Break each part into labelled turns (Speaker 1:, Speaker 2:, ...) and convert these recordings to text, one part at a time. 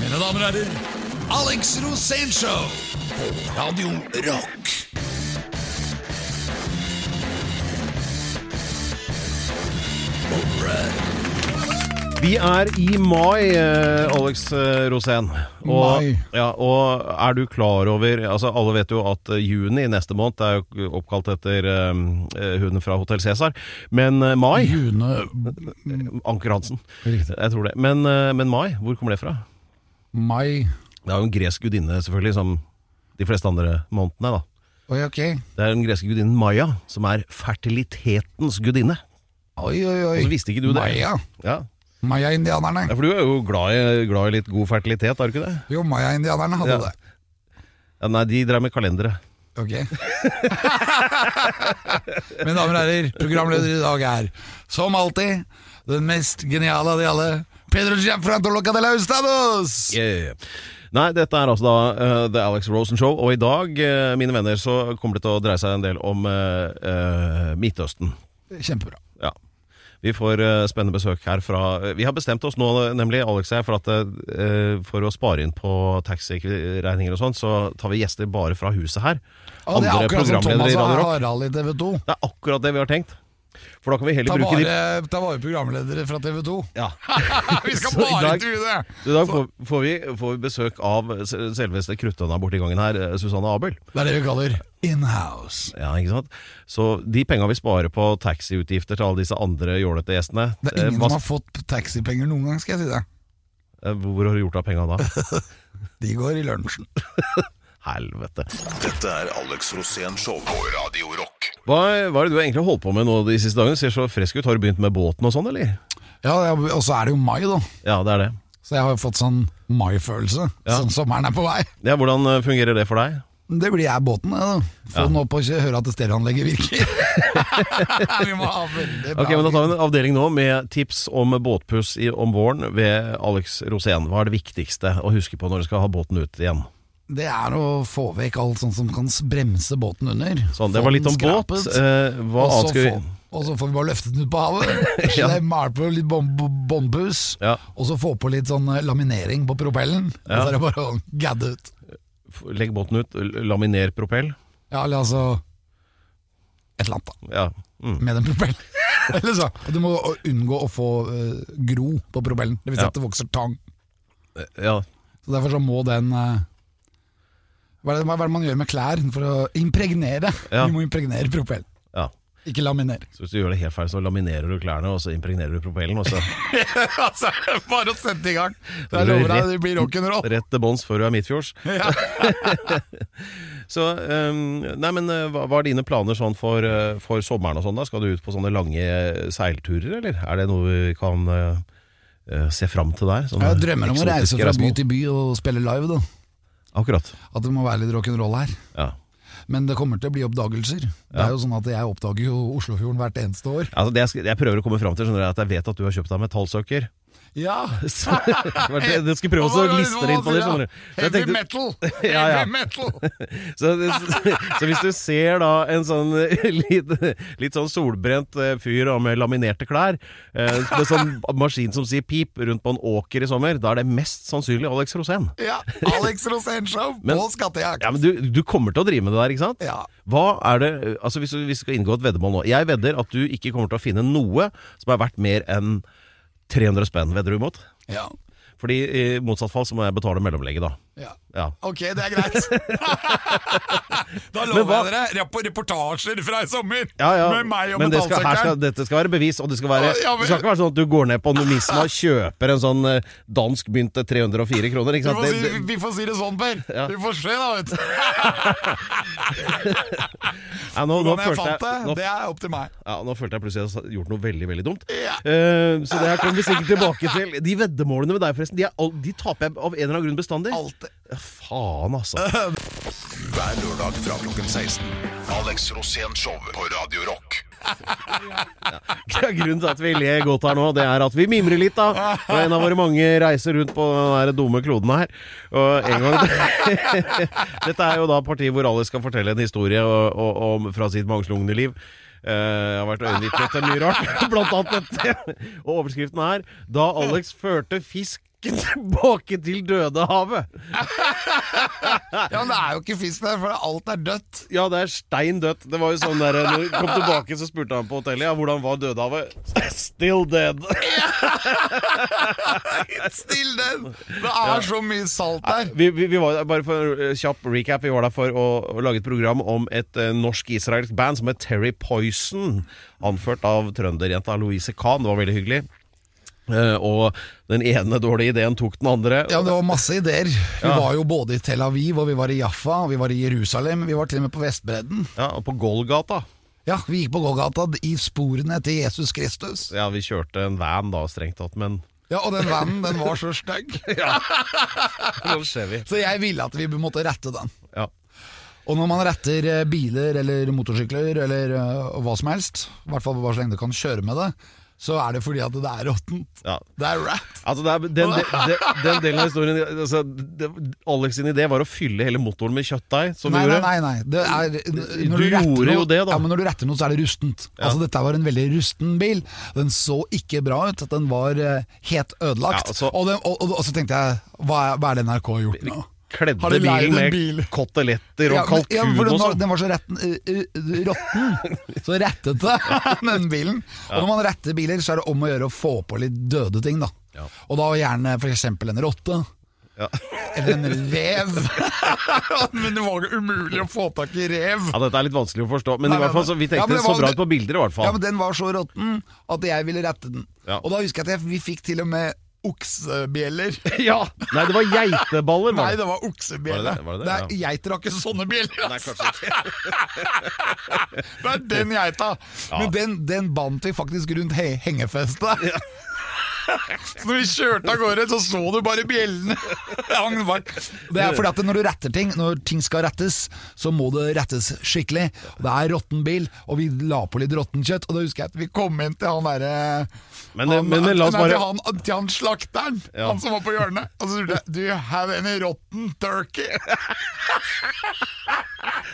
Speaker 1: Mine damer og herrer, Alex Rosénshow på Radio Rock.
Speaker 2: Vi er i mai, eh, Alex eh, Rosén. Og,
Speaker 3: Mai.
Speaker 2: ja, og er du klar over altså Alle vet jo at eh, juni neste måned er jo oppkalt etter um, hunden fra Hotell Cæsar. Men eh, mai
Speaker 3: June
Speaker 2: Anker Hansen.
Speaker 3: Riktig.
Speaker 2: Jeg tror det. Men, eh, men mai, hvor kommer det fra?
Speaker 3: Mai.
Speaker 2: Det er jo en gresk gudinne, selvfølgelig, som de fleste andre månedene. da
Speaker 3: Oi, ok.
Speaker 2: Det er den greske gudinnen Maya, som er fertilitetens gudinne.
Speaker 3: Oi, oi,
Speaker 2: Og så
Speaker 3: oi.
Speaker 2: visste ikke du det.
Speaker 3: Maya.
Speaker 2: Ja.
Speaker 3: Maya-indianerne.
Speaker 2: Ja, for du er jo glad i, glad i litt god fertilitet, er du ikke det?
Speaker 3: Jo, maya-indianerne hadde
Speaker 2: Ja.
Speaker 3: det.
Speaker 2: Ja, nei, de drev med kalendere.
Speaker 3: Ok. Mine damer og herrer, programleder i dag er, som alltid, den mest geniale av de alle, Pedro Gianfranco Locadela Austados!
Speaker 2: Yeah. Nei, dette er altså da eh, The Alex Rosen Show, og i dag, eh, mine venner, så kommer det til å dreie seg en del om eh, eh, Midtøsten.
Speaker 3: Kjempebra.
Speaker 2: Ja. Vi får eh, spennende besøk her fra eh, Vi har bestemt oss nå, nemlig Alex og jeg, for, at, eh, for å spare inn på taxiregninger og sånn, så tar vi gjester bare fra huset her.
Speaker 3: Og det er akkurat som Thomas
Speaker 2: i
Speaker 3: og
Speaker 2: Radio Rock.
Speaker 3: Harald i TV 2.
Speaker 2: Det er akkurat det vi har tenkt. For da kan vi
Speaker 3: Ta
Speaker 2: heller bruke de
Speaker 3: vare, ta vare programledere fra TV 2.
Speaker 2: ja.
Speaker 3: Vi skal
Speaker 2: Så i
Speaker 3: bare
Speaker 2: dag-
Speaker 3: intervjue det!
Speaker 2: I dag får, får, vi, får vi besøk av s- selveste kruttønna borti gangen her, eh, Susanne Abel.
Speaker 3: Det er det vi kaller in-house.
Speaker 2: Ja, ikke sant? Så de penga vi sparer på taxiutgifter til alle disse andre jålete gjestene
Speaker 3: Det er
Speaker 2: eh,
Speaker 3: ingen
Speaker 2: hva-
Speaker 3: som har fått taxipenger noen gang, skal jeg si deg.
Speaker 2: eh, Hvor har du gjort av penga da?
Speaker 3: De går i lunsjen.
Speaker 2: Helvete.
Speaker 1: Dette er Alex Rosén Show på Radio Rock.
Speaker 2: Hva, hva er det du egentlig har holdt på med nå de siste dagene? Ser så frisk ut. Har du begynt med båten og sånn, eller?
Speaker 3: Ja, jeg- og så er det jo mai, da.
Speaker 2: Ja, det er det.
Speaker 3: Så jeg har jo fått sånn mai-følelse.
Speaker 2: Ja.
Speaker 3: Sånn sommeren er på vei.
Speaker 2: Ja, hvordan eh, fungerer det for deg?
Speaker 3: Det blir jeg båten, jeg, da. Få den opp og kjø- høre at stereoanlegget virker. vi må ha veldig bra
Speaker 2: Ok, men Da tar vi en avdeling nå med tips om båtpuss i, om våren ved Alex Rosén. Hva er det viktigste å huske på når du skal ha båten ut igjen?
Speaker 3: Det er å få vekk alt sånt som kan s- bremse båten under.
Speaker 2: Sånn,
Speaker 3: Få
Speaker 2: det var litt
Speaker 3: den
Speaker 2: om båt.
Speaker 3: skrapet,
Speaker 2: Eh, hva
Speaker 3: og, så
Speaker 2: annet skal vi
Speaker 3: få, og så får vi bare løftet den ut på havet.
Speaker 2: Ja.
Speaker 3: Slemme alt på litt bom- bom- bombus.
Speaker 2: Ja.
Speaker 3: Og så få på litt sånn eh, laminering på propellen. Og
Speaker 2: Ja.
Speaker 3: så er det bare å gadde ut.
Speaker 2: F- Legg båten ut, l- laminer propell.
Speaker 3: Ja, eller altså Et eller annet, da.
Speaker 2: Ja. Mm.
Speaker 3: med den propellen. Eller så, og du må unngå å få eh, gro på propellen. Det vil si
Speaker 2: Ja.
Speaker 3: at det vokser tang.
Speaker 2: ja.
Speaker 3: Så Derfor så må den eh, hva, er det, hva er det man gjør med klær for å impregnere?
Speaker 2: Ja.
Speaker 3: Du må impregnere propellen,
Speaker 2: ja.
Speaker 3: ikke laminere.
Speaker 2: Så hvis du gjør det helt feil, så laminerer du klærne, og så impregnerer du propellen, og så
Speaker 3: altså, bare å sette i gang!
Speaker 2: Jeg lover deg, det
Speaker 3: blir rock'n'roll.
Speaker 2: rett til bånns før du er midtfjords. Så ehm, Nei, men eh, hva, hva er dine planer sånn for, eh, for sommeren og sånn, da? Skal du ut på sånne lange eh, seilturer, eller? Er det noe vi kan eh, eh, se fram til der? Sånne
Speaker 3: Jeg drømmer om å reise
Speaker 2: eksotiske
Speaker 3: fra by
Speaker 2: reisemål?
Speaker 3: til by og spille live, da.
Speaker 2: Akkurat.
Speaker 3: At det må være litt rock'n'roll her.
Speaker 2: Ja.
Speaker 3: Men det kommer til å bli oppdagelser. Det er jo sånn at Jeg oppdager jo Oslofjorden hvert eneste år.
Speaker 2: Altså, det jeg, sk- jeg prøver å komme fram til, skjønner du, er at jeg vet at du har kjøpt deg metallsøker.
Speaker 3: Ja!
Speaker 2: Så, det, det skal jeg prøve også å gliste det inn på det, skjønner du. Så jeg tenkte-
Speaker 3: metal!
Speaker 2: Ja, ja. Heavy
Speaker 3: metal!
Speaker 2: Så, så, så hvis du ser da en sånn eh, litt, litt sånn solbrent eh, fyr da, med laminerte klær, eh, med sånn maskin som sier pip rundt på en åker i sommer, da er det mest sannsynlig Alex Rosén.
Speaker 3: Ja, Alex Rosénshow
Speaker 2: Men-
Speaker 3: på skattejakt.
Speaker 2: Ja, men du, du kommer til å drive med det der, ikke sant?
Speaker 3: Ja.
Speaker 2: Hva er det, altså hvis du, hvis du skal inngå et veddemål nå Jeg vedder at du ikke kommer til å finne noe som er verdt mer enn 300 spenn, vedder du imot?
Speaker 3: Ja.
Speaker 2: Fordi i motsatt fall så må jeg betale mellomlegget da.
Speaker 3: ja.
Speaker 2: Ja.
Speaker 3: Ok, det er greit. da
Speaker 2: Men hva-
Speaker 3: dere rapp- reportasjer fra i sommer
Speaker 2: Ja, ja. Men det skal, her skal, dette skal være bevis, og det skal, være,
Speaker 3: Ja, ja, men-
Speaker 2: det skal ikke være sånn at du går ned på Numisma og kjøper en sånn eh, dansk mynt til 304 kroner.
Speaker 3: Vi
Speaker 2: Ikke sant?
Speaker 3: får,
Speaker 2: Det,
Speaker 3: si,
Speaker 2: det,
Speaker 3: vi får si det sånn, Per.
Speaker 2: Ja.
Speaker 3: Vi får se, da. vet du
Speaker 2: ja, nå, nå,
Speaker 3: Hvordan jeg
Speaker 2: følte
Speaker 3: fant det,
Speaker 2: jeg, nå,
Speaker 3: det er opp til meg.
Speaker 2: ja, nå følte jeg plutselig at jeg har gjort noe veldig veldig dumt.
Speaker 3: Ja.
Speaker 2: Eh, så det her kommer vi sikkert tilbake til. De veddemålene med deg, forresten, de, er, all- de taper jeg av en eller annen grunn bestandig.
Speaker 3: Alltid.
Speaker 2: Ja, faen, altså.
Speaker 1: Hver lørdag fra klokken 16. Alex Rosén Show på Radio Rock.
Speaker 2: Grunnen til at vi ler godt her nå, det er at vi mimrer litt da fra en av våre mange reiser rundt på den der dumme kloden her. Og en gang Dette er jo da partiet hvor alle skal fortelle en historie og- og- om, fra sitt mangslungne liv. Eh, jeg har vært øyenvitne til mye rart, blant annet dette. Og overskriften er 'Da Alex førte fisk Ikke tilbake til Dødehavet!
Speaker 3: Ja, men det er jo ikke fisk der, for alt er dødt.
Speaker 2: Ja, det er stein dødt. Det var jo sånn der Når vi kom tilbake, så spurte han på hotellet Ja, hvordan var Dødehavet. Still dead.
Speaker 3: Still den! Det er så mye salt der.
Speaker 2: Vi, vi, vi var der, Bare for eh, kjapp recap. Vi var der for å, å lage et program om et eh, norsk-israelsk band som het Terry Poison. Anført av trønderjenta Louise Kahn. Det var veldig hyggelig. Eh, og den ene dårlige ideen tok den andre.
Speaker 3: Ja, det var masse ideer. Vi var jo både i Tel Aviv, og vi var i Jaffa, og vi var i Jerusalem. Vi var til og med på Vestbredden.
Speaker 2: Ja, og på Golgata.
Speaker 3: Ja, vi gikk på gågata i sporene etter Jesus Kristus.
Speaker 2: Ja, vi kjørte en van da, strengt tatt, men
Speaker 3: Ja, og den vanen, den var så stygg.
Speaker 2: Nå ser vi.
Speaker 3: Så jeg ville at vi måtte rette den.
Speaker 2: Ja.
Speaker 3: Og når man retter eh, biler eller motorsykler eller eh, hva som helst, i hvert fall bare så lenge du kan kjøre med det, så er det fordi at det er råttent.
Speaker 2: ja.
Speaker 3: Det er rat.
Speaker 2: Altså, det er, den, de- de- den delen av historien altså, det, Alex sin idé var å fylle hele motoren med kjøttdeig, som
Speaker 3: Nei,
Speaker 2: vi
Speaker 3: nei,
Speaker 2: gjorde.
Speaker 3: nei. nei. Det er, når
Speaker 2: Du
Speaker 3: retter
Speaker 2: gjorde
Speaker 3: noe,
Speaker 2: jo det, da.
Speaker 3: Ja, men når du retter noe, så er det rustent. Altså, dette var en veldig rusten bil. Den så ikke bra ut. Den var eh, helt ødelagt.
Speaker 2: Ja, altså-
Speaker 3: og, den, og, og, og så tenkte jeg, hva er, hva er det NRK har gjort nå?
Speaker 2: Kledde
Speaker 3: Har de leid
Speaker 2: bilen
Speaker 3: en
Speaker 2: med
Speaker 3: bil?
Speaker 2: koteletter og
Speaker 3: men-
Speaker 2: kalkun
Speaker 3: ja, for den,
Speaker 2: og
Speaker 3: var-
Speaker 2: sånn.
Speaker 3: den var så retten, uh, uh, råtten, så rettet det, den bilen. Og når man retter biler, så er det om å gjøre å få på litt døde ting, da.
Speaker 2: Ja.
Speaker 3: Og da gjerne f.eks. en rotte.
Speaker 2: Ja.
Speaker 3: Eller en rev. men det var jo umulig å få tak i rev.
Speaker 2: ja, dette er litt vanskelig å forstå, men
Speaker 3: Nei,
Speaker 2: i hvert fall så,
Speaker 3: men-
Speaker 2: vi
Speaker 3: Ja,
Speaker 2: tenkte
Speaker 3: men
Speaker 2: det
Speaker 3: det
Speaker 2: så
Speaker 3: var-
Speaker 2: bra ut på bilder, i hvert fall.
Speaker 3: Ja, men den var så råtten at jeg ville rette den.
Speaker 2: Ja.
Speaker 3: Og da husker jeg at jeg, vi fikk til og med oksebjeller.
Speaker 2: Ja! Nei, det var geiteballer,
Speaker 3: Nei,
Speaker 2: var
Speaker 3: det
Speaker 2: det.
Speaker 3: var oksebjelle.
Speaker 2: Var det det? Var det det?
Speaker 3: Nei, Geiter har ikke sånne bjeller.
Speaker 2: Nei,
Speaker 3: altså.
Speaker 2: kanskje ikke.
Speaker 3: Det er den geita. Men den, den bandt vi faktisk rundt he hengefestet. Så når vi kjørte av gårde, så så du bare bjellene. Det hang bak. Det er fordi at når du retter ting, når ting skal rettes, så må det rettes skikkelig. Det er råtten bil, og vi la på litt råttenkjøtt. Og da husker jeg at vi kom inn til han derre
Speaker 2: Men- eh, men- men la oss
Speaker 3: nei, til
Speaker 2: bare-
Speaker 3: han, til han slakteren,
Speaker 2: Ja.
Speaker 3: han som var på hjørnet. Og så spurte jeg Do you have any rotten turkey?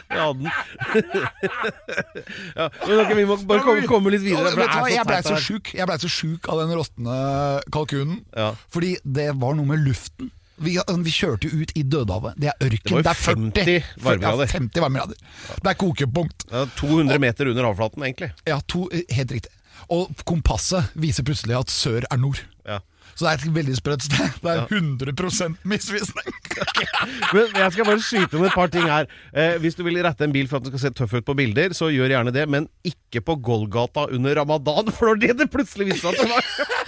Speaker 2: Vi hadde den. ja, men ok, vi må bare komme, komme litt videre.
Speaker 3: Ja,
Speaker 2: for det
Speaker 3: vet du
Speaker 2: er
Speaker 3: hva, jeg blei
Speaker 2: teit
Speaker 3: så
Speaker 2: her.
Speaker 3: sjuk Jeg ble så sjuk av den råtne kalkunen.
Speaker 2: Ja.
Speaker 3: Fordi det var noe med luften. Vi, vi kjørte jo ut i Dødehavet. Det er ørken.
Speaker 2: Det var jo
Speaker 3: Det, er 40
Speaker 2: 50 varmegrader.
Speaker 3: Ja, 50 varmegrader. Det er kokepunkt.
Speaker 2: Ja, 200 meter under havflaten, egentlig.
Speaker 3: Ja, to, eh, helt riktig. Og kompasset viser plutselig at sør er nord.
Speaker 2: Ja.
Speaker 3: Så det er et veldig sprøtt sted. Det er 100 misvisning.
Speaker 2: Men jeg skal bare skyte inn et par ting her. Eh, hvis du vil rette en bil for at den skal se tøff ut på bilder, så gjør gjerne det, men ikke på Golgata under ramadan, for det var det det plutselig viste seg at det var.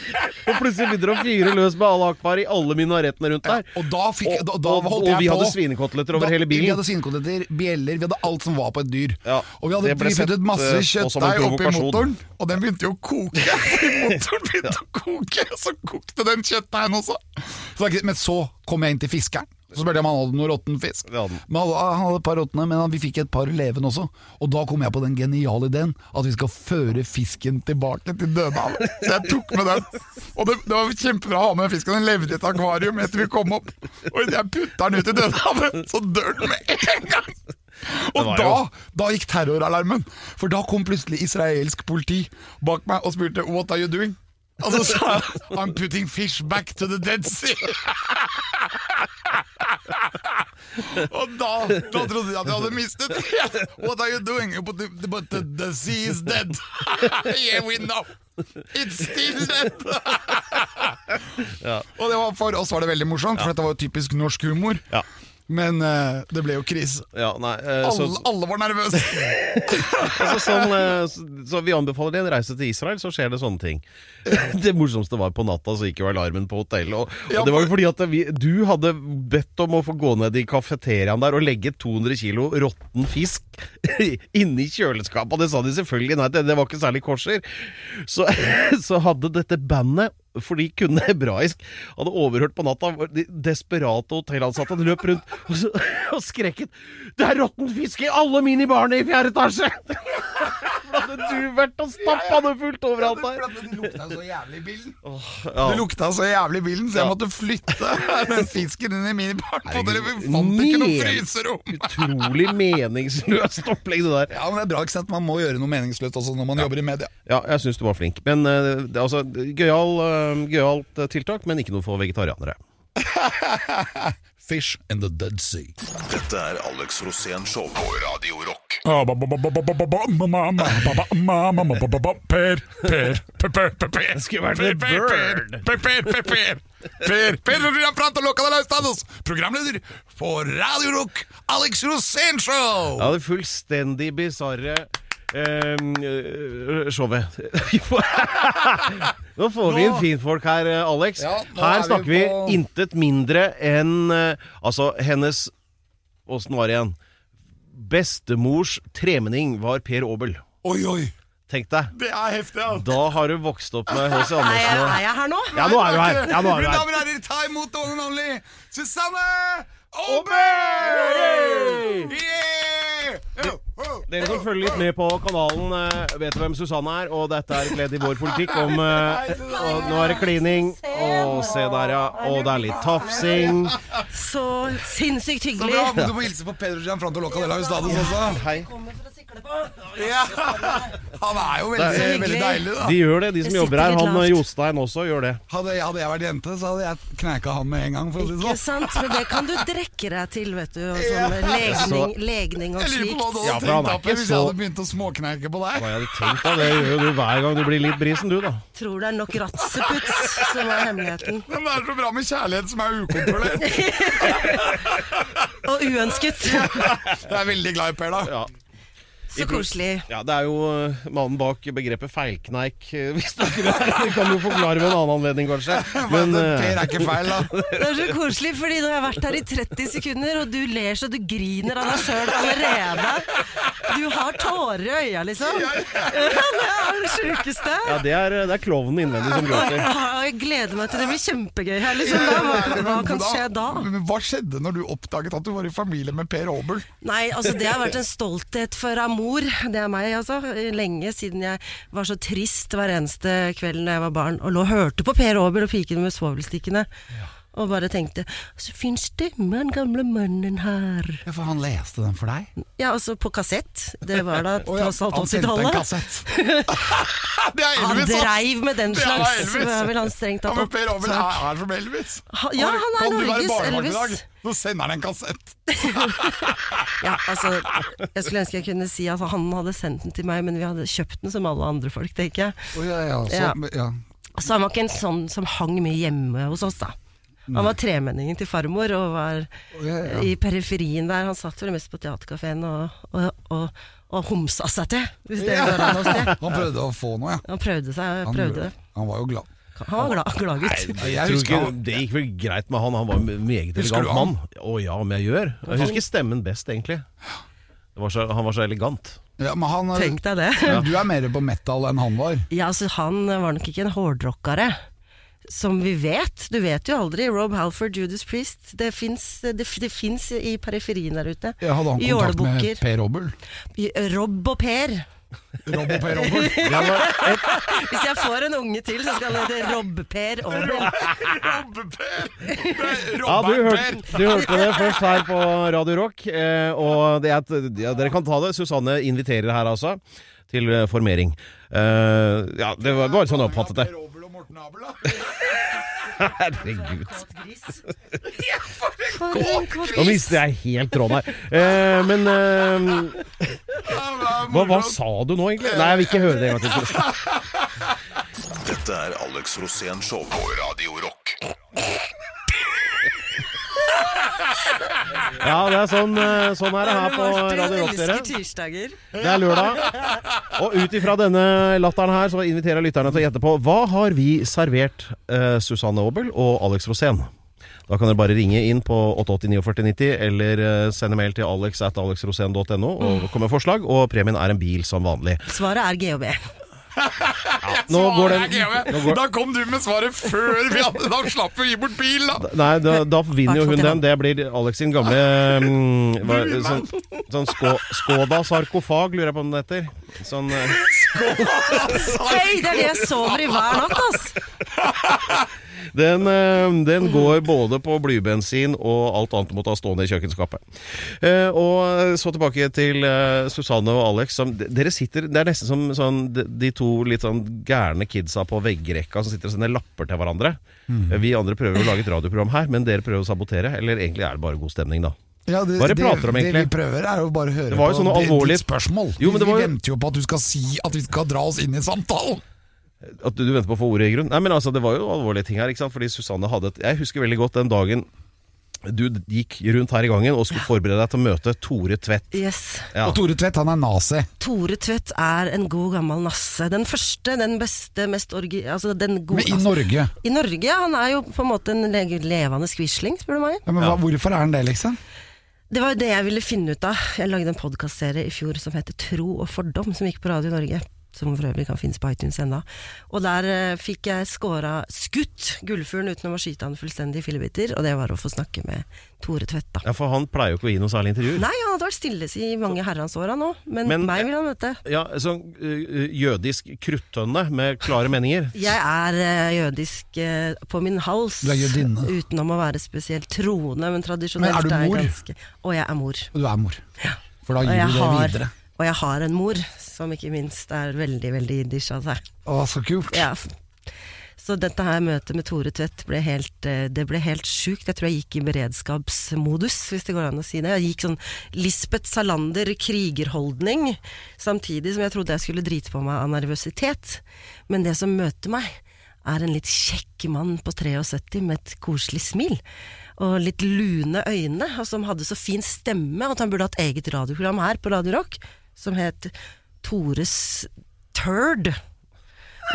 Speaker 2: Og plutselig begynner det å fyre løs med Allah akbar i alle minarettene rundt der.
Speaker 3: Og da fikk da, da
Speaker 2: og,
Speaker 3: holdt
Speaker 2: og
Speaker 3: jeg
Speaker 2: vi
Speaker 3: på.
Speaker 2: hadde svinekoteletter over
Speaker 3: Da-
Speaker 2: hele
Speaker 3: Vi
Speaker 2: bilen.
Speaker 3: hadde svinekoteletter, bjeller, vi hadde alt som var på et dyr.
Speaker 2: Ja,
Speaker 3: og vi hadde
Speaker 2: det ble
Speaker 3: vi
Speaker 2: sett,
Speaker 3: puttet masse
Speaker 2: eh, på som en
Speaker 3: kjøttdeig oppi
Speaker 2: provokasjon.
Speaker 3: motoren, og den begynte jo å koke. motoren begynte å koke, og så kokte den kjøttdeigen også. Så, det er ikke- men så kom jeg inn til fiskeren. Så spurte jeg om han hadde noe råtten fisk.
Speaker 2: Det hadde han.
Speaker 3: Men han han hadde et par råtne, men han- vi fikk et par levende også. Og da kom jeg på den geniale ideen at vi skal føre fisken tilbake til Dødehavet. Så jeg tok med den. Og det, det var kjempebra å ha med fisken. Den levde i et akvarium etter vi kom opp. Og idet jeg putta den ut i Dødehavet, så dør den med en gang! Og
Speaker 2: var
Speaker 3: da,
Speaker 2: jo-
Speaker 3: da gikk terroralarmen. For da kom plutselig israelsk politi bak meg og spurte 'What are you doing?' Og så sa jeg 'I'm putting fish back to the Dead Sea'. Og da, da trodde jeg at jeg hadde mistet det. What are you doing? But the, but the, the sea is dead. yeah, we know. It's still dead. Og det var for oss var det veldig morsomt, for dette var jo typisk norsk humor.
Speaker 2: Ja.
Speaker 3: Men eh, det ble jo krise.
Speaker 2: Ja, nei, eh, så,
Speaker 3: Alle, alle var nervøse.
Speaker 2: altså, sånn, eh, så, så vi anbefaler det en reise til Israel, så skjer det sånne ting. Det morsomste var på natta, så gikk jo alarmen på hotellet. Og,
Speaker 3: Ja,
Speaker 2: og det var jo fordi at vi, du hadde bedt om å få gå ned i kafeteriaen der og legge 200 kilo råtten fisk inni kjøleskapet. Og det sa de selvfølgelig nei til, det var ikke særlig korser. Så, så hadde dette bandet for de kunne hebraisk. Hadde overhørt på natta hvor de desperate hotellansatte hadde løp rundt og, så, og skreket 'Det er råtten fisk i alle minibarene i fjerde etasje!' hadde du vært og stappa det fullt overalt
Speaker 3: for
Speaker 2: der?
Speaker 3: at Det lukta jo så jævlig i bilen.
Speaker 2: ja.
Speaker 3: Det lukta så jævlig i bilen, så jeg
Speaker 2: Ja.
Speaker 3: måtte flytte den fisken inn i minibaren. For dere
Speaker 2: Herregud.
Speaker 3: fant ikke noe
Speaker 2: Ned.
Speaker 3: fryserom!
Speaker 2: Utrolig meningsløst opplegg, det der.
Speaker 3: Ja, men det er bra, ikke sant? Man må gjøre noe meningsløst også når man jobber i media.
Speaker 2: Ja, jeg syns du var flink. Men eh, det, altså, gøyal, eh, gøyalt eh, tiltak, men ikke noe for vegetarianere.
Speaker 3: Fish in the Dead Sea.
Speaker 1: Dette er Alex Rosén Show på Radio Rock.
Speaker 4: Ah, Per, Per, Per, Per, Per, Per.
Speaker 2: Det skulle vært The
Speaker 4: Per,
Speaker 2: Bird.
Speaker 4: Per, Per, Per, Per, Per.
Speaker 3: Per, Per Rødland Brandt og Locca de Laustados, programleder for Radio Rock, Alex Rosén Show!
Speaker 2: Ja, det fullstendig bisarre eh, showet. Vi får- nå får vi inn finfolk her, eh, Alex.
Speaker 3: Ja, nå er
Speaker 2: her
Speaker 3: vi
Speaker 2: snakker vi,
Speaker 3: på-
Speaker 2: intet mindre enn eh, Altså, hennes Åssen var det igjen? Bestemors tremenning var Per Aabel.
Speaker 3: Oi, oi!
Speaker 2: Tenk deg.
Speaker 3: Det er heftig, altså.
Speaker 2: Da har du vokst opp med H.C.
Speaker 5: Er jeg,
Speaker 2: Andersen.
Speaker 5: er
Speaker 2: og-
Speaker 5: jeg her nå?
Speaker 2: Ja, nå er du her! Ja, nå er du
Speaker 3: Mine
Speaker 2: her.
Speaker 3: damer og herrer, ta imot the one and only Susanne Aabel! Yeah! Oh, oh,
Speaker 2: Dere som
Speaker 3: oh,
Speaker 2: følger litt
Speaker 3: oh.
Speaker 2: med på kanalen, eh, vet hvem Susanne er, og dette er et ledd i vår politikk om eh, og Nå er det klining, og se der, ja. Og det er litt tafsing.
Speaker 5: Så sinnssykt
Speaker 3: Så
Speaker 5: hyggelig.
Speaker 3: bra, Du må hilse på Pedro Gianfranto Locca de Laustados også.
Speaker 2: Hei.
Speaker 3: Ja. Han er jo
Speaker 2: Det
Speaker 3: veldig,
Speaker 5: er
Speaker 3: veldig
Speaker 5: hyggelig.
Speaker 3: deilig, da.
Speaker 2: De gjør det, de som
Speaker 5: Jeg
Speaker 2: jobber
Speaker 5: sitter
Speaker 2: her.
Speaker 5: litt
Speaker 2: Han eh,
Speaker 5: lavt.
Speaker 2: Jostein også gjør det.
Speaker 3: Hadde, hadde jeg vært jente, så hadde jeg kneika han med en gang. For å si det
Speaker 5: Ikke
Speaker 3: sånn.
Speaker 5: sant? Men det kan du drekke deg til, vet du. Og sånn legning, legning og
Speaker 3: Jeg lurer på hva du
Speaker 5: slikt.
Speaker 3: hadde
Speaker 2: Ja, for han
Speaker 3: tenkt
Speaker 2: er
Speaker 3: opp i
Speaker 2: ikke
Speaker 3: hvis
Speaker 2: så-
Speaker 3: jeg hadde begynt å småkneike på deg.
Speaker 2: Hva jeg hadde tenkt da, det gjør jo du hver gang du blir litt brisen, du da.
Speaker 5: Tror det er nok ratseputs som er hemmeligheten.
Speaker 3: Men det er så bra med kjærlighet som er ukontrollert.
Speaker 5: Og uønsket.
Speaker 3: Jeg er veldig glad i Per, da.
Speaker 2: Ja.
Speaker 5: Så koselig.
Speaker 2: Ja, Det er jo eh, mannen bak begrepet feilkneik, eh, hvis det skulle være. Det kan du forklare ved en annen anledning, kanskje. Men
Speaker 3: per
Speaker 2: eh,
Speaker 3: er ikke feil, da.
Speaker 5: Det er så koselig, fordi nå har jeg vært her i 30 sekunder, og du ler så du griner av deg sjøl allerede. Du har tårer i øya, liksom. Det er det sjukeste.
Speaker 2: ja, det er, eh, det er klovnen innvendig som gråter.
Speaker 5: Ja, Jeg gleder meg til det blir kjempegøy her, liksom. Da, hva, hva kan skje da?
Speaker 3: Men hva skjedde når du oppdaget at du var i familie med Per Aabel?
Speaker 5: Nei, altså det har vært en stolthet for amor. Det er meg, altså. Lenge siden jeg var så trist hver eneste kveld da jeg var barn og lå og hørte på Per Aabel og pikene med svovelstikkene. Og bare tenkte Så fin stemme, den gamle mannen her.
Speaker 3: Ja, for han leste den for deg?
Speaker 5: Ja, altså på kassett. Det var da
Speaker 3: Å ja,
Speaker 5: tross alt
Speaker 3: han sendte en
Speaker 5: 80-tallet.
Speaker 3: kassett. det er
Speaker 5: Han
Speaker 3: Elvis, ass!
Speaker 5: dreiv med den
Speaker 3: Det er
Speaker 5: slags.
Speaker 3: Elvis.
Speaker 5: så er vel han strengt
Speaker 3: Ja,
Speaker 5: tatt
Speaker 3: men Per Aabel
Speaker 5: opptak.
Speaker 3: er, er som Elvis.
Speaker 5: Ha- ja, han er
Speaker 3: kan du være
Speaker 5: Norges
Speaker 3: barnebarn i
Speaker 5: Elvis.
Speaker 3: dag? Så sender han en kassett.
Speaker 5: Ja, altså, jeg skulle ønske jeg kunne si at han hadde sendt den til meg, men vi hadde kjøpt den som alle andre folk, tenker jeg. så- Så han var ikke en sånn som hang mye hjemme hos oss, da. Han var tremenningen til farmor og var eh, i periferien der. Han satt vel mest på teaterkafeen og, og, og, og homsa seg til, hvis det går an å si.
Speaker 3: Han prøvde å få noe, ja.
Speaker 5: Han prøvde seg,
Speaker 3: Han,
Speaker 5: prøvde det.
Speaker 3: han var jo glad.
Speaker 5: Han var glad, glad gutt.
Speaker 3: Jeg
Speaker 2: Jeg
Speaker 3: husker
Speaker 2: tror
Speaker 3: han-
Speaker 2: ikke, det gikk vel greit med han, han var en meget
Speaker 3: Husker du
Speaker 2: elegant
Speaker 3: han?
Speaker 2: mann. Å ja, om jeg gjør. Jeg husker stemmen best, egentlig. Det var så, han var så elegant.
Speaker 3: Ja, men han, eh,
Speaker 5: Tenk deg det.
Speaker 3: Du er mer på metal enn han var.
Speaker 5: Ja, altså han var nok ikke en hårdrockere. Som vi vet. Du vet jo aldri. Rob Halford, Judas Priest. Det fins det, det finnes i periferien der ute.
Speaker 3: Ja, hadde han kontakt med
Speaker 5: Jålebukker.
Speaker 3: Per Aabel?
Speaker 5: Rob og Per.
Speaker 3: Rob og Per Aabel.
Speaker 5: Hvis jeg får en unge til, så skal han hete Rob-Per Aabel.
Speaker 3: Robbe-Per!
Speaker 2: Ja, du
Speaker 3: Robert-Per!
Speaker 2: hørte, du hørte det først her på Radio Rock. eh, Og det er, et- ja, dere kan ta det. Susanne inviterer her, altså. Til eh, formering. Eh, ja, det var, det var sånn jeg oppfattet det.
Speaker 3: Per Aabel og Morten Abel, da.
Speaker 2: Herregud.
Speaker 5: For en kåt
Speaker 2: Nå
Speaker 5: gris.
Speaker 2: mister jeg helt tråden her. Eh, men eh, hva, hva sa du nå, egentlig? Nei, jeg vil ikke høre det en gang til. Susanne.
Speaker 1: Dette er Alex Rosén Show på Radio Rock.
Speaker 2: Ja, det er sånn, eh, sånn er det her på Radio Rock, dere.
Speaker 5: elsker tirsdager.
Speaker 2: Det er lørdag. Og ut ifra denne latteren her, så inviterer jeg lytterne til å gjette på hva har vi servert eh, Susanne Aabel og Alex Rosén? Da kan dere bare ringe inn på 88494090 eller eh, sende mail til alex at alexrosen.no og komme med forslag. Og premien er en bil som vanlig.
Speaker 5: Svaret er GHB.
Speaker 2: Nå går
Speaker 3: Svaret
Speaker 2: den-
Speaker 3: er GV.
Speaker 2: nå går-
Speaker 3: Da kom du med svaret før vi hadde Da slapp vi å gi bort bil, da!
Speaker 2: Nei, da, da vinner jo hun
Speaker 5: Hvertfall til
Speaker 2: den.
Speaker 5: han.
Speaker 2: Det blir Alex sin gamle mm, hva, sånn, sånn skå, Skåda sarkofag, lurer jeg på om den heter. Sånn, eh,
Speaker 5: Hei, det er det jeg sover i hver natt, ass!
Speaker 2: den, eh, den går både på blybensin og alt annet du måtte ha stående i kjøkkenskapet. Eh, og så tilbake til eh, Susanne og Alex. Som, d- dere sitter, det er nesten som sånn, de, de to litt sånn gærne kidsa på veggrekka som sitter og sender lapper til hverandre. Vi andre prøver å lage et radioprogram her, men dere prøver å sabotere. Eller egentlig er det bare god stemning, da.
Speaker 3: Ja, det,
Speaker 2: Hva er det prater om,
Speaker 3: Det
Speaker 2: egentlig?
Speaker 3: vi prøver, er jo bare å høre
Speaker 2: Det var jo
Speaker 3: på
Speaker 2: sånne
Speaker 3: det-
Speaker 2: alvorlige-
Speaker 3: ditt spørsmål.
Speaker 2: Jo, men det var
Speaker 3: Vi
Speaker 2: jo-
Speaker 3: venter jo på at du skal si at vi skal dra oss inn i samtalen!
Speaker 2: At du, du venter på å få ordet i grunn Nei, men altså, det var jo alvorlige ting her, ikke sant? Fordi Susanne hadde et Jeg husker veldig godt den dagen du gikk rundt her i gangen og skulle forberede deg til å møte Tore Tvedt.
Speaker 5: Yes.
Speaker 2: Ja.
Speaker 3: Og Tore Tvedt, han er nazi.
Speaker 5: Tore Tvedt er en god gammel nasse. Den første, den beste, mest orgi... Altså, den gode
Speaker 3: Men i Norge.
Speaker 5: I Norge, ja, Han er jo på en måte en le- levende quisling, spør du meg.
Speaker 3: Ja, men hva, hvorfor er han det, liksom?
Speaker 5: Det var jo det jeg ville finne ut av. Jeg lagde en podkastserie i fjor som heter Tro og fordom, som gikk på Radio Norge. Som for øvrig kan finnes på iTunes enda. Og der eh, fikk jeg scora skutt gullfuglen uten å skyte han fullstendig i fillebiter, og det var å få snakke med Tore Tvedt, da.
Speaker 2: Ja, for han pleier jo ikke å gi noe særlig intervjuer.
Speaker 5: Nei, han hadde vært stille i mange herrens år, han òg, men,
Speaker 2: Men-
Speaker 5: meg vil han møte.
Speaker 2: Ja, sånn eh, jødisk kruttønne med klare meninger.
Speaker 5: Jeg er eh, jødisk eh, på min hals,
Speaker 3: Du er jødinne.
Speaker 5: utenom å være spesielt troende, men tradisjonelt
Speaker 3: Men er du
Speaker 5: jeg
Speaker 3: mor?
Speaker 5: ganske- Og jeg er mor.
Speaker 3: Og du er mor. For da
Speaker 5: Og
Speaker 3: gir
Speaker 5: jeg,
Speaker 3: du det
Speaker 5: har,
Speaker 3: videre.
Speaker 5: og jeg har en mor som ikke minst er veldig, veldig altså. jiddisch av seg.
Speaker 3: Å, så kult.
Speaker 5: Ja. Så dette her møtet med Tore Tvedt ble helt, eh, det ble helt sjukt. Jeg tror jeg gikk i beredskapsmodus, hvis det går an å si det. Jeg gikk sånn Lisbeth Salander krigerholdning, samtidig som jeg trodde jeg skulle drite på meg av nervøsitet. Men det som møter meg, er en litt kjekk mann på 73 med et koselig smil. Og litt lune øyne, og som hadde så fin stemme at han burde hatt eget radioprogram her på Radio Rock, som het Tores Turd.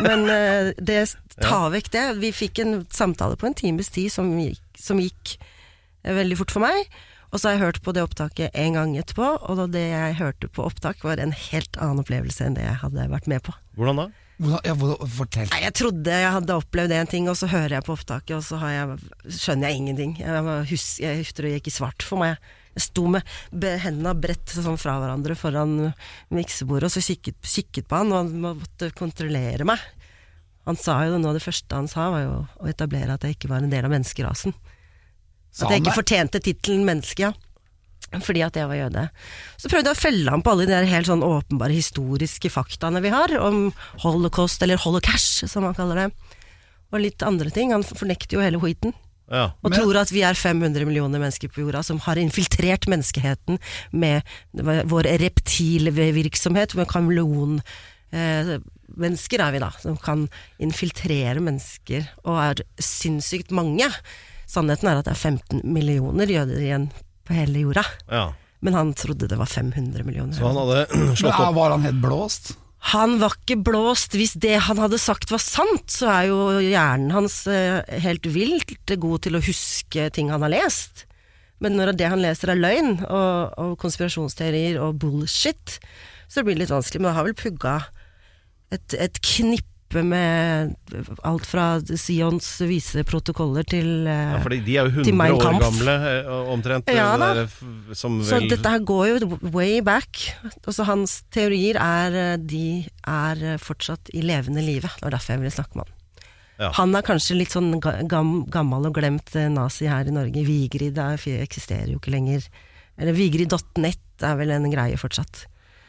Speaker 5: Men eh, det ta vekk det. Vi fikk en samtale på en times tid som gikk, som gikk eh, veldig fort for meg. Og så har jeg hørt på det opptaket en gang etterpå, og da det jeg hørte på opptak, var en helt annen opplevelse enn det jeg hadde vært med på.
Speaker 2: Hvordan da?
Speaker 3: Hvordan, ja, hvordan, fortell.
Speaker 5: Nei, Jeg trodde jeg hadde opplevd en ting, og så hører jeg på opptaket, og så har jeg, skjønner jeg ingenting. Jeg, var- hus, jeg husker det gikk i svart for meg. Jeg sto med be- hendene bredt sånn fra hverandre foran miksebordet, og så kikket, kikket på han, og han måtte kontrollere meg. Han sa jo, Noe av det første han sa, var jo å etablere at jeg ikke var en del av menneskerasen.
Speaker 3: Sa
Speaker 5: at jeg
Speaker 3: han
Speaker 5: ikke
Speaker 3: det?
Speaker 5: fortjente tittelen menneske, ja. Fordi at jeg var jøde. Så prøvde jeg å følge ham på alle de der helt sånn åpenbare historiske faktaene vi har, om holocaust, eller holocash, som han kaller det. Og litt andre ting. Han fornekter jo hele hviten.
Speaker 2: Ja.
Speaker 5: Og
Speaker 3: Men-
Speaker 5: tror at vi er 500 millioner mennesker på jorda som har infiltrert menneskeheten med vår reptilvirksomhet, med kameleon. Eh, mennesker er vi da, som kan infiltrere mennesker, og er sinnssykt mange. Sannheten er at det er 15 millioner jøder igjen på hele jorda.
Speaker 2: ja.
Speaker 5: Men han trodde det var 500 millioner.
Speaker 2: Så han hadde
Speaker 3: Men,
Speaker 2: slått
Speaker 3: er-
Speaker 2: opp
Speaker 3: var han helt blåst?
Speaker 5: Han var ikke blåst. Hvis det han hadde sagt var sant, så er jo hjernen hans eh, helt vilt god til å huske ting han har lest. Men når det han leser er løgn, og, og konspirasjonsteorier og bullshit, så blir det litt vanskelig. Men han har vel pugga et, et knippe med alt fra Sions vise protokoller til eh,
Speaker 2: ja, Fordi de er jo
Speaker 5: Til
Speaker 2: 100
Speaker 5: Mein
Speaker 2: år
Speaker 5: Kampf.
Speaker 2: gamle eh, omtrent. eh,
Speaker 5: Ja, da.
Speaker 2: der, f- som
Speaker 5: Så
Speaker 2: vel
Speaker 5: dette her går jo way back. Altså Hans teorier er eh, De er eh, fortsatt i levende live. Det var derfor jeg ville snakke med han.
Speaker 2: Ja.
Speaker 5: Han er kanskje litt sånn ga- gam, gammel og glemt eh, nazi her i Norge. Vigrid er, eksisterer jo ikke lenger. Eller Vigrid.nett er vel en greie fortsatt.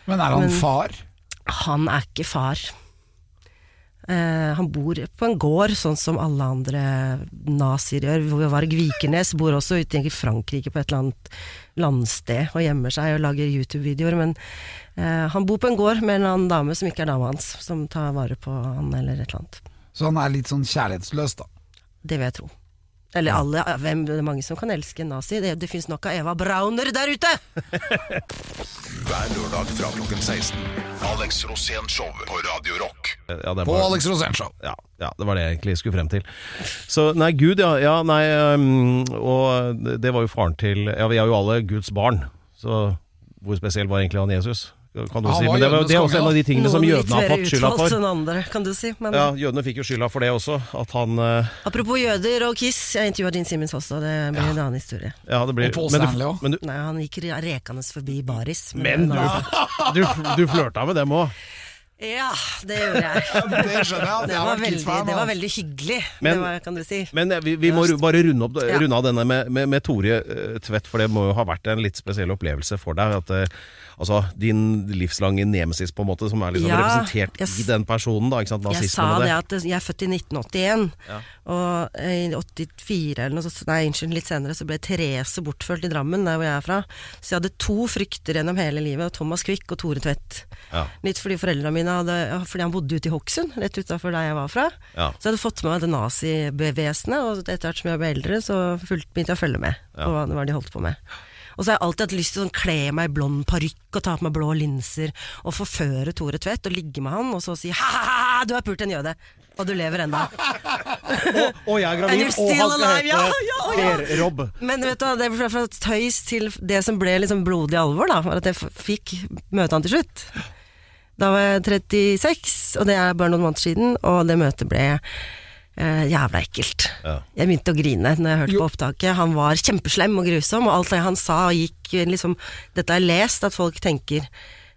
Speaker 3: Men er han
Speaker 5: Men-
Speaker 3: far?
Speaker 5: Han er ikke far. Eh, han bor på en gård, sånn som alle andre nazier gjør. Hvor Varg Vikernes bor også ute i Frankrike på et eller annet landsted og gjemmer seg og lager YouTube-videoer. Men eh, han bor på en gård med en annen dame som ikke er dama hans, som tar vare på han eller et eller annet.
Speaker 3: Så han er litt sånn kjærlighetsløs, da.
Speaker 5: Det vil jeg tro. Eller alle, hvem, det er mange som kan elske en nazi. Det, det fins nok av Eva Brauner der ute!
Speaker 1: Hver lørdag fra klokken 16. Alex Rosén Show på Radio Rock.
Speaker 2: ja, det er
Speaker 3: På
Speaker 2: bare-
Speaker 3: Alex Rosén Show.
Speaker 2: ja, ja, det var det jeg egentlig skulle frem til. Så nei, Gud, ja. ja nei, um, og det var jo faren til Ja, vi er jo alle Guds barn, så hvor spesiell var egentlig han Jesus? kan du
Speaker 3: Han
Speaker 2: si.
Speaker 3: var
Speaker 2: Men det, var,
Speaker 3: jødenes
Speaker 2: det er også
Speaker 3: konge,
Speaker 2: en av de tingene som
Speaker 5: litt
Speaker 2: jødene har
Speaker 5: mer
Speaker 2: fått skylda
Speaker 5: utvalgt
Speaker 2: for.
Speaker 5: enn andre, kan du si. Men
Speaker 2: Ja, Jødene fikk jo skylda for det også. At han eh,
Speaker 5: apropos jøder og Kiss, jeg intervjua Gene Simmons også, det blir en annen historie.
Speaker 2: ja, det blir,
Speaker 3: Og Paul
Speaker 2: men du-
Speaker 3: Stanley også.
Speaker 2: Men, du,
Speaker 5: Nei, han gikk re- rekende forbi baris.
Speaker 2: men du, du, du flørta med dem òg.
Speaker 5: Ja, det gjorde jeg.
Speaker 3: Det skjønner jeg.
Speaker 5: Det
Speaker 3: jeg
Speaker 5: var
Speaker 3: var
Speaker 5: veldig,
Speaker 3: Kiss-fan,
Speaker 5: det var
Speaker 3: ass.
Speaker 5: veldig hyggelig,
Speaker 2: Men-
Speaker 5: det var, kan du si.
Speaker 2: Men eh, vi, vi må ru- bare runde, opp,
Speaker 5: Ja.
Speaker 2: runde av denne med, med, med Tore eh, Tvedt, for det må jo ha vært en litt spesiell opplevelse for deg. At, eh, altså, din livslange nemesis, på en måte, som er liksom
Speaker 5: Ja,
Speaker 2: representert
Speaker 5: jeg s-
Speaker 2: i den personen. Da, ikke sant?
Speaker 5: Jeg
Speaker 2: Nazismen
Speaker 5: sa
Speaker 2: og
Speaker 5: det at eh, jeg er født i 1981, og eh, i 84 eller noe sånt, nei, unnskyld, litt senere så ble Therese bortført i Drammen, der hvor jeg er fra. Så jeg hadde to frykter gjennom hele livet, Thomas Quick og Tore Tvedt.
Speaker 2: Ja.
Speaker 5: Litt fordi foreldrene mine hadde, ja, fordi han bodde ute i Hokksund, rett utafor der jeg var fra.
Speaker 2: Ja.
Speaker 5: Så jeg hadde fått med meg det nazivesenet, og etter hvert som jeg ble eldre, så fulgte, begynte jeg å følge med på hva det var de holdt på med. Og så har jeg alltid hatt lyst til å sånn, kle meg i blond parykk og ta på meg blå linser og forføre Tore Tvedt og ligge med han og så si ha-ha-ha, du har pult en jøde, og du lever ennå.
Speaker 2: Og jeg er
Speaker 5: And
Speaker 2: gravid, og
Speaker 5: you're
Speaker 2: han
Speaker 5: still
Speaker 2: skal
Speaker 5: alive,
Speaker 2: hete
Speaker 5: ja, ja, ja.
Speaker 2: Per Rob.
Speaker 5: Men vet du, hva, det ble fra tøys til det som ble liksom blodig alvor, da, var at jeg f- fikk møte han til slutt. Da var jeg 36, og det er bare noen måneder siden, og det møtet ble eh, jævla ekkelt.
Speaker 2: Ja.
Speaker 5: Jeg begynte å grine når jeg hørte på opptaket. Han var kjempeslem og grusom, og alt det han sa gikk liksom Dette har jeg lest, at folk tenker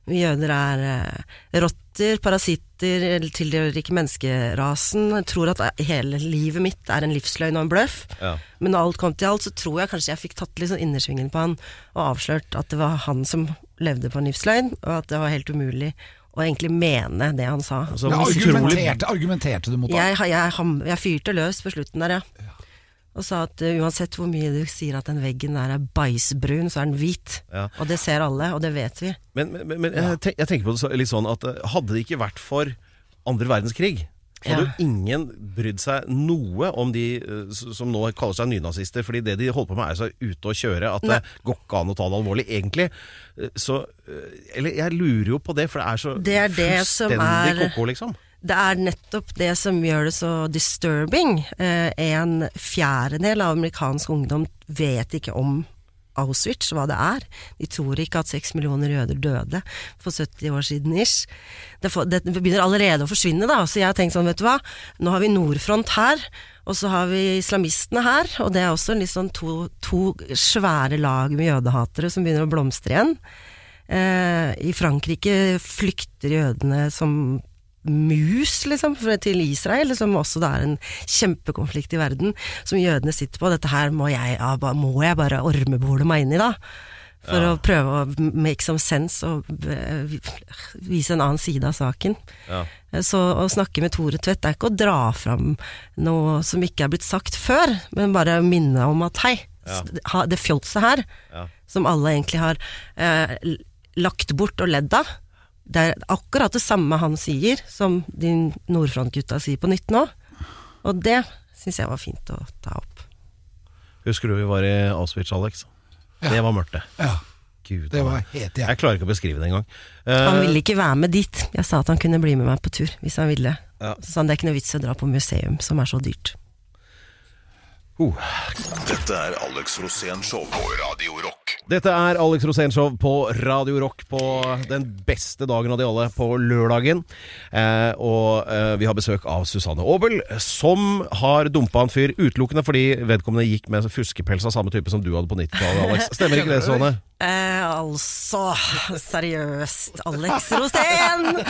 Speaker 5: vi jøder er eh, rotter, parasitter, eller tilhører ikke menneskerasen. Jeg tror at hele livet mitt er en livsløgn og en bløff.
Speaker 2: Ja.
Speaker 5: Men når alt kom til alt, så tror jeg kanskje jeg fikk tatt litt sånn innersvingen på han, og avslørt at det var han som levde på en livsløgn, og at det var helt umulig å egentlig mene det han sa.
Speaker 2: Så
Speaker 3: Ja,
Speaker 2: utrolig
Speaker 3: argumenterte, argumenterte du mot ham?
Speaker 5: Jeg, jeg, ham- jeg fyrte løs på slutten der, ja. Og sa at eh, uansett hvor mye du sier at den veggen der er bæsjbrun, så er den hvit.
Speaker 2: Ja.
Speaker 5: Og det ser alle, og det vet vi.
Speaker 2: Men, men, men jeg, ten- jeg tenker på det så, litt sånn at eh, hadde det ikke vært for andre verdenskrig, så hadde
Speaker 5: Ja.
Speaker 2: jo ingen brydd seg noe om de eh, s- som nå kaller seg nynazister, fordi det de holder på med er så ute å kjøre at det går ikke an å ta det alvorlig, egentlig. Eh, Så eh, Eller jeg lurer jo på det, for det er så
Speaker 5: Det er det som
Speaker 2: fullstendig
Speaker 5: er-
Speaker 2: ko-ko, liksom.
Speaker 5: Det er nettopp det som gjør det så disturbing. Eh, en fjerdedel av amerikansk ungdom vet ikke om Auschwitz, hva det er. De tror ikke at seks millioner jøder døde for 70 år siden ish. Det, får- det begynner allerede å forsvinne, da. Så jeg har tenkt sånn, vet du hva. Nå har vi Nordfront her, og så har vi islamistene her. Og det er også litt sånn to, to svære lag med jødehatere som begynner å blomstre igjen. Eh, I Frankrike flykter jødene som mus, liksom, fra- til Israel, som også det er en kjempekonflikt i verden, som jødene sitter på. Dette her må jeg, ja, ba- må jeg bare ormebole meg inn i, da. For å prøve å make some sense og eh, vi- vise en annen side av saken.
Speaker 2: Ja.
Speaker 5: Eh, Så å snakke med Tore Tvedt er ikke å dra fram noe som ikke er blitt sagt før, men bare minne om at hei,
Speaker 2: Ja.
Speaker 5: s- ha- det fjolset her,
Speaker 2: Ja.
Speaker 5: som alle egentlig har eh, l- lagt bort og ledd av, det er akkurat det samme han sier som din Nordfront-gutta sier på nytt nå. Og det syns jeg var fint å ta opp.
Speaker 2: Husker du vi var i Auschwitz, Alex? Det var mørkt, det.
Speaker 3: Ja,
Speaker 2: Gud,
Speaker 3: det var helt jeg.
Speaker 2: Jeg klarer ikke å beskrive det engang. Eh,
Speaker 5: Han ville ikke være med dit. Jeg sa at han kunne bli med meg på tur hvis han ville.
Speaker 2: Ja.
Speaker 5: Så sa han det er ikke noe vits i å dra på museum som er så dyrt.
Speaker 1: Dette er Alex Rosén Show på Radio Rock.
Speaker 2: Dette er Alex Rosénshow på Radio Rock på den beste dagen av de alle, på lørdagen. Eh, og eh, vi har besøk av Susanne Aabel, som har dumpa en fyr utelukkende fordi vedkommende gikk med fuskepels av samme type som du hadde på 90-tallet, Alex. Stemmer ikke det, Susanne?
Speaker 5: Eh, altså, seriøst, Alex Rosén!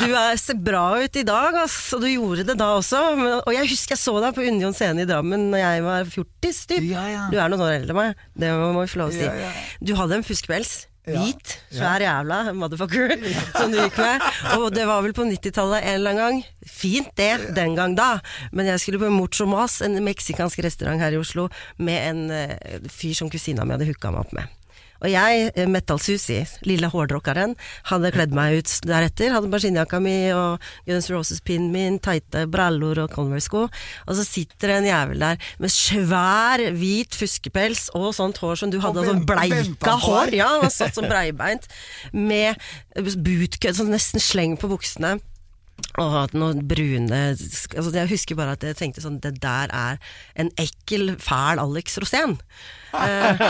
Speaker 5: Du er, ser bra ut i dag, ass, og du gjorde det da også. Men, og jeg husker jeg så deg på Union Scene i Drammen Når jeg var 40, typ.
Speaker 3: Ja, ja.
Speaker 5: Du er noen år eldre enn meg, det må må vi få lov å si.
Speaker 3: Ja, ja.
Speaker 5: Du hadde en fuskepels. Hvit, svær jævla motherfucker som du gikk med. Og det var vel på 90-tallet en eller annen gang. Fint det, den gang da. Men jeg skulle på Mucho Mas, en meksikansk restaurant her i Oslo, med en eh, fyr som kusina mi hadde hooka meg opp med. Og jeg, eh, Metal Susi, lille hårdrockeren, hadde kledd meg ut deretter. Hadde maskinjakka mi og Guns N' Roses-pinnen min, tighte brallor og Converse-sko. Og så sitter det en jævel der med svær, hvit fuskepels og sånt hår som du hadde,
Speaker 3: Og
Speaker 5: sånn
Speaker 3: ben-
Speaker 5: bleika
Speaker 3: benta hår.
Speaker 5: hår. Ja, han satt sånn breibeint med bootcut, sånn nesten sleng på buksene. Og at noen brune sk- altså Jeg husker bare at jeg tenkte sånn Det der er en ekkel, fæl Alex Rosén. Eh,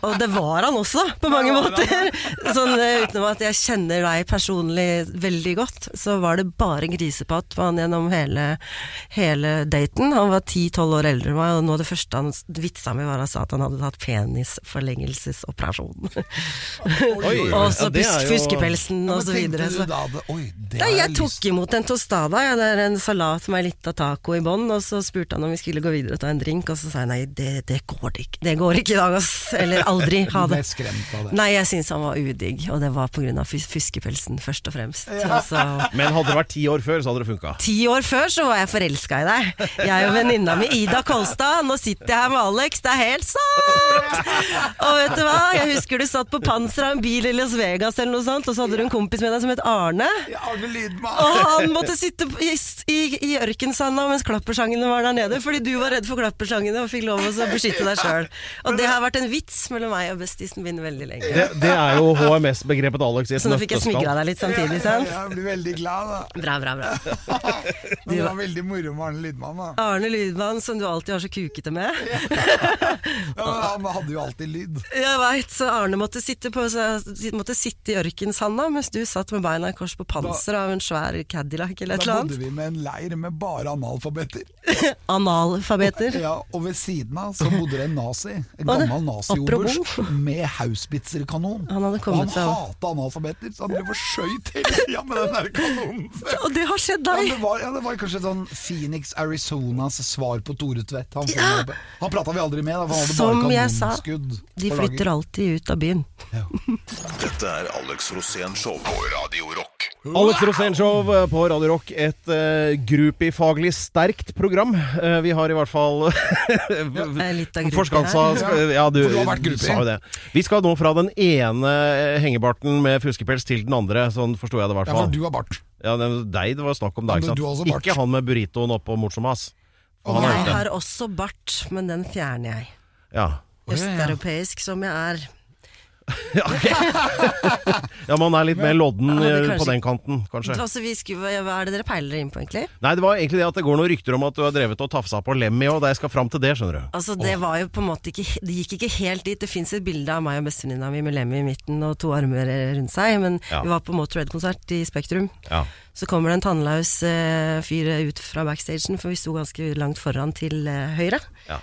Speaker 5: og det var han også, på mange måter. Sånn, eh, utenom at jeg kjenner deg personlig veldig godt, så var det bare grisepatt på han gjennom hele, hele daten. Han var 10-12 år eldre enn meg, og noe av det første han s- vitsa med, var han sa at han hadde tatt penisforlengelsesoperasjon.
Speaker 2: Oi,
Speaker 5: og så
Speaker 2: ja, det er
Speaker 5: pus-
Speaker 2: jo-
Speaker 5: fuskepelsen og
Speaker 3: men
Speaker 5: så videre.
Speaker 3: tenkte
Speaker 5: Så.
Speaker 3: du da det, Oi, det
Speaker 5: Ja,
Speaker 3: har
Speaker 5: jeg
Speaker 3: lyst
Speaker 5: tok imot en tostada. Ja, det er en salat med litt av taco i bånn. Og så spurte han om vi skulle gå videre og ta en drink, og så sa jeg nei, det, det går ikke Det går ikke i dag, ass. Eller aldri. Ha
Speaker 3: Du ble
Speaker 5: det.
Speaker 3: skremt av det.
Speaker 5: Nei, jeg syns han var udigg, og det var pga. fuskepelsen, først og fremst. Altså,
Speaker 2: Men hadde det vært ti år før, så hadde det funka.
Speaker 5: ti år før så var jeg forelska i deg. Jeg og venninna mi Ida Kolstad. Nå sitter jeg her med Alex, det er helt sant! Og vet du hva, jeg husker du satt på panseret av en bil i Las Vegas eller noe sånt, og så hadde du en kompis med deg som het Arne.
Speaker 3: Ja, Arne
Speaker 5: Og
Speaker 3: Lydman!
Speaker 5: han måtte sitte på- i, i, i ørkensanda mens klappersangene var der nede, fordi du var redd for klappersangene og fikk lov til å beskytte deg sjøl. Og det har vært en vits mellom meg og bestisen min veldig lenge.
Speaker 2: Det, det er jo HMS-begrepet Alex i et
Speaker 5: Så nå fikk jeg smigra
Speaker 2: nøtteskall.
Speaker 5: deg litt samtidig, sant?
Speaker 3: Jeg blir veldig glad, da.
Speaker 5: Bra, bra, bra.
Speaker 3: Men det var veldig moro med Arne Lydman, da.
Speaker 5: Arne Lydmann, som du alltid har så kukete med.
Speaker 3: Ja, men han hadde jo alltid lyd.
Speaker 5: Jeg veit, så Arne måtte sitte, på, så, måtte sitte i ørkensanda mens du satt med beina i kors på panseret av en svær Cadillac eller et
Speaker 3: Da
Speaker 5: eller
Speaker 3: bodde
Speaker 5: annet.
Speaker 3: vi med en leir med bare analfabeter.
Speaker 5: Analfabeter.
Speaker 3: Ja, og ved siden av så bodde det en nazi. En gammel nazioberst
Speaker 5: apropos.
Speaker 3: med hausbitzerkanon.
Speaker 5: Han hadde
Speaker 3: og
Speaker 5: kommet
Speaker 3: han
Speaker 5: seg av-
Speaker 3: hata analfabeter, så han drev og skjøt hele tida med den der kanonen.
Speaker 5: Og det har skjedd
Speaker 3: Ja, men
Speaker 5: deg!
Speaker 3: det, var, ja, det var kanskje sånn Phoenix Arizonas svar på Tore Tvedt. Han, ja! han prata vi aldri med, da, for han hadde
Speaker 5: Som
Speaker 3: bare
Speaker 5: jeg sa,
Speaker 3: kanonskudd.
Speaker 5: de
Speaker 3: på lager.
Speaker 5: flytter alltid ut av byen.
Speaker 1: Dette er Alex Rosén Show på Radio Rock.
Speaker 2: Alex Rosénshow på Radio Rock, et uh, groupie-faglig sterkt program. Eh, vi har i hvert fall
Speaker 5: er litt av groupie
Speaker 2: Forskansa
Speaker 5: her.
Speaker 2: skal- Ja, du,
Speaker 3: For du har vært groupie.
Speaker 2: sa jo det. Vi skal nå fra den ene eh, hengebarten med fuskepels til den andre, sånn forsto jeg det i hvert
Speaker 3: Ja, for
Speaker 2: fall.
Speaker 3: du har bart.
Speaker 2: Ja, det var deg det var snakk om,
Speaker 3: Ja,
Speaker 2: da. Ikke,
Speaker 3: men du har
Speaker 2: sant?
Speaker 3: også bart.
Speaker 2: ikke han med burritoen oppå Morsomas. Han er
Speaker 5: Jeg
Speaker 2: ute.
Speaker 5: har også bart, men den fjerner jeg.
Speaker 2: Ja.
Speaker 5: Østeuropeisk som jeg er.
Speaker 2: ja, man er litt mer lodden
Speaker 5: Ja, det
Speaker 2: eh, på
Speaker 5: kanskje-
Speaker 2: den kanten, kanskje.
Speaker 5: Altså, vi skulle, hva er det dere peiler inn på, egentlig?
Speaker 2: Nei, det var egentlig det at det går noen rykter om at du har drevet og tafsa på Lemmy, og jeg skal fram til det, skjønner du.
Speaker 5: Altså, det var jo på en måte ikke Det gikk ikke helt dit. Det fins et bilde av meg og bestevenninna mi med Lemmy i midten og to armer rundt seg, men
Speaker 2: Ja.
Speaker 5: vi var på Motorhead-konsert i Spektrum.
Speaker 2: Ja.
Speaker 5: Så kommer det en tannlaus eh, fyr ut fra backstagen, for vi sto ganske langt foran til eh, høyre.
Speaker 2: Ja.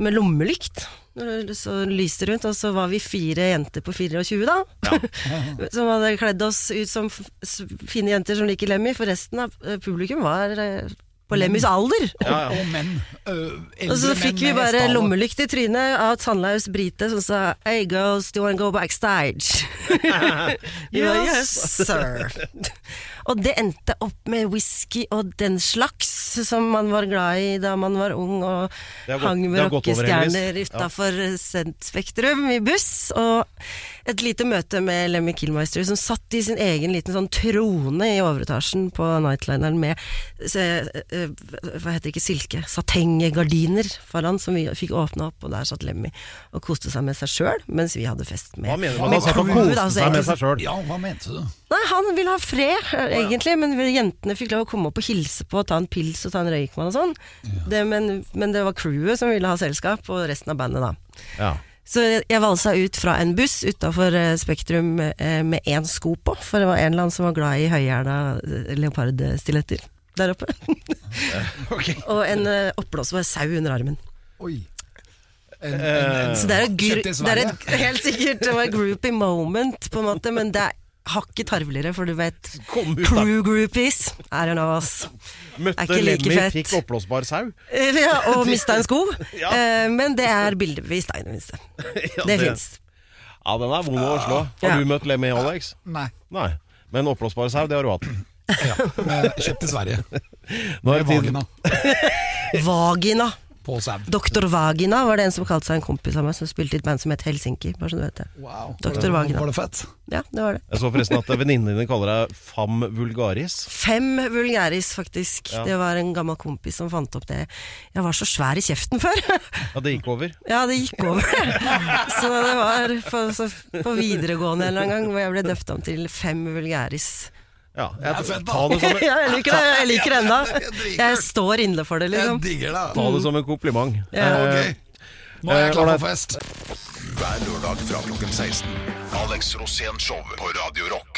Speaker 5: Med lommelykt. Eh, Så lyste det rundt, og så var vi fire jenter på 24 da. som hadde kledd oss ut som f s- fine jenter som liker Lemmy, for resten av eh, publikum var eh, på Lemmys alder.
Speaker 2: Ja, ja.
Speaker 3: Og menn. Øh,
Speaker 5: Og
Speaker 3: eldre
Speaker 5: så fikk vi
Speaker 2: eh,
Speaker 3: menn med
Speaker 5: bare
Speaker 3: hestehale.
Speaker 5: lommelykt i trynet av tannlaus brite som sa Hey girls, do you wanna go backstage? Vi var, yes, sir. og det endte opp med whisky og den slags som man var glad i da man var ung og
Speaker 2: Det har gått-
Speaker 5: hang
Speaker 2: det
Speaker 5: med
Speaker 2: har gått over, heldigvis.
Speaker 5: rockestjerner
Speaker 2: Ja.
Speaker 5: utafor Spektrum i buss. Og et lite møte med Lemmy Killmeister som satt i sin egen liten sånn trone i overetasjen på Nightlineren med se, eh, hva heter det ikke, silke, satenggardiner foran som vi fikk åpna opp, og der satt Lemmy og koste seg med seg sjøl mens vi hadde fest med
Speaker 2: Hva mener du?
Speaker 5: med
Speaker 2: Han satt og
Speaker 5: crewet,
Speaker 2: koste
Speaker 5: altså,
Speaker 2: seg med
Speaker 5: egentlig-
Speaker 2: seg sjøl.
Speaker 3: Ja, hva mente du?
Speaker 5: Nei, han ville ha fred, eh, egentlig, men vi- jentene fikk lov å komme opp og hilse på, ta en pils og ta en røyk med han og sånn. Det, men, men det var crewet som ville ha selskap, og resten av bandet, da.
Speaker 2: Ja.
Speaker 5: Så jeg- jeg valsa ut fra en buss utafor Spektrum eh, med én sko på, for det var en eller annen som var glad i høyhæla eh, leopardstiletter der oppe. og en eh, oppblåsbar sau under armen.
Speaker 3: Oi. En, en,
Speaker 2: Eh,
Speaker 3: en,
Speaker 5: Så det er, et gru,
Speaker 3: Kjøpt i
Speaker 5: det er et, helt sikkert det var et groupie moment, på en måte, men det er hakket tarveligere, for du vet
Speaker 2: Kom ut, da.
Speaker 5: Crew groupies I don't know, ass.
Speaker 2: Møtte
Speaker 5: ikke like
Speaker 2: Lemmy,
Speaker 5: fett.
Speaker 2: fikk oppblåsbar sau.
Speaker 5: Eh, Ja, og mista en sko.
Speaker 2: Ja.
Speaker 5: Eh, Men det er bildebevis, da, i det minste.
Speaker 2: Ja,
Speaker 5: Det fins.
Speaker 2: Ja, den er vond å slå. Har
Speaker 5: Ja.
Speaker 2: du møtt Lemmy, Alex?
Speaker 3: nei,
Speaker 2: Nei. Men oppblåsbar sau, det har du hatt.
Speaker 3: men kjøpt i Sverige.
Speaker 2: Nå er
Speaker 3: Med
Speaker 2: det tid-
Speaker 3: vagina
Speaker 5: Vagina.
Speaker 3: på sau.
Speaker 5: Doktor Vagina var det en som kalte seg en kompis av meg, som spilte i et band som het Helsinki. Bare så du vet det.
Speaker 3: Wow.
Speaker 5: Dr.
Speaker 3: Var det-
Speaker 5: Vagina.
Speaker 3: Var det fett?
Speaker 5: Ja, det var det.
Speaker 2: Jeg så forresten at venninnene dine kaller deg Fam vulgaris.
Speaker 5: Fem vulgæris, faktisk.
Speaker 2: Ja.
Speaker 5: Det var en gammel kompis som fant opp det. Jeg var så svær i kjeften før.
Speaker 2: Ja, det gikk over.
Speaker 5: Ja, det gikk over. Så det var på, så på videregående en eller annen gang hvor jeg ble døpt om til Fem vulgæris.
Speaker 2: Ja, jeg,
Speaker 3: fett, da.
Speaker 2: ta det som en,
Speaker 5: Ja, jeg liker det jeg liker det ennå.
Speaker 3: Jeg liker
Speaker 5: Jeg står inne for det,
Speaker 3: Jeg
Speaker 5: liksom.
Speaker 3: digger det.
Speaker 2: ta det som en kompliment.
Speaker 5: Ja.
Speaker 2: Eh,
Speaker 3: Ok. Nå er jeg klar for fest.
Speaker 1: Hver lørdag fra klokken 16. Alex Rosén Show på Radio Rock.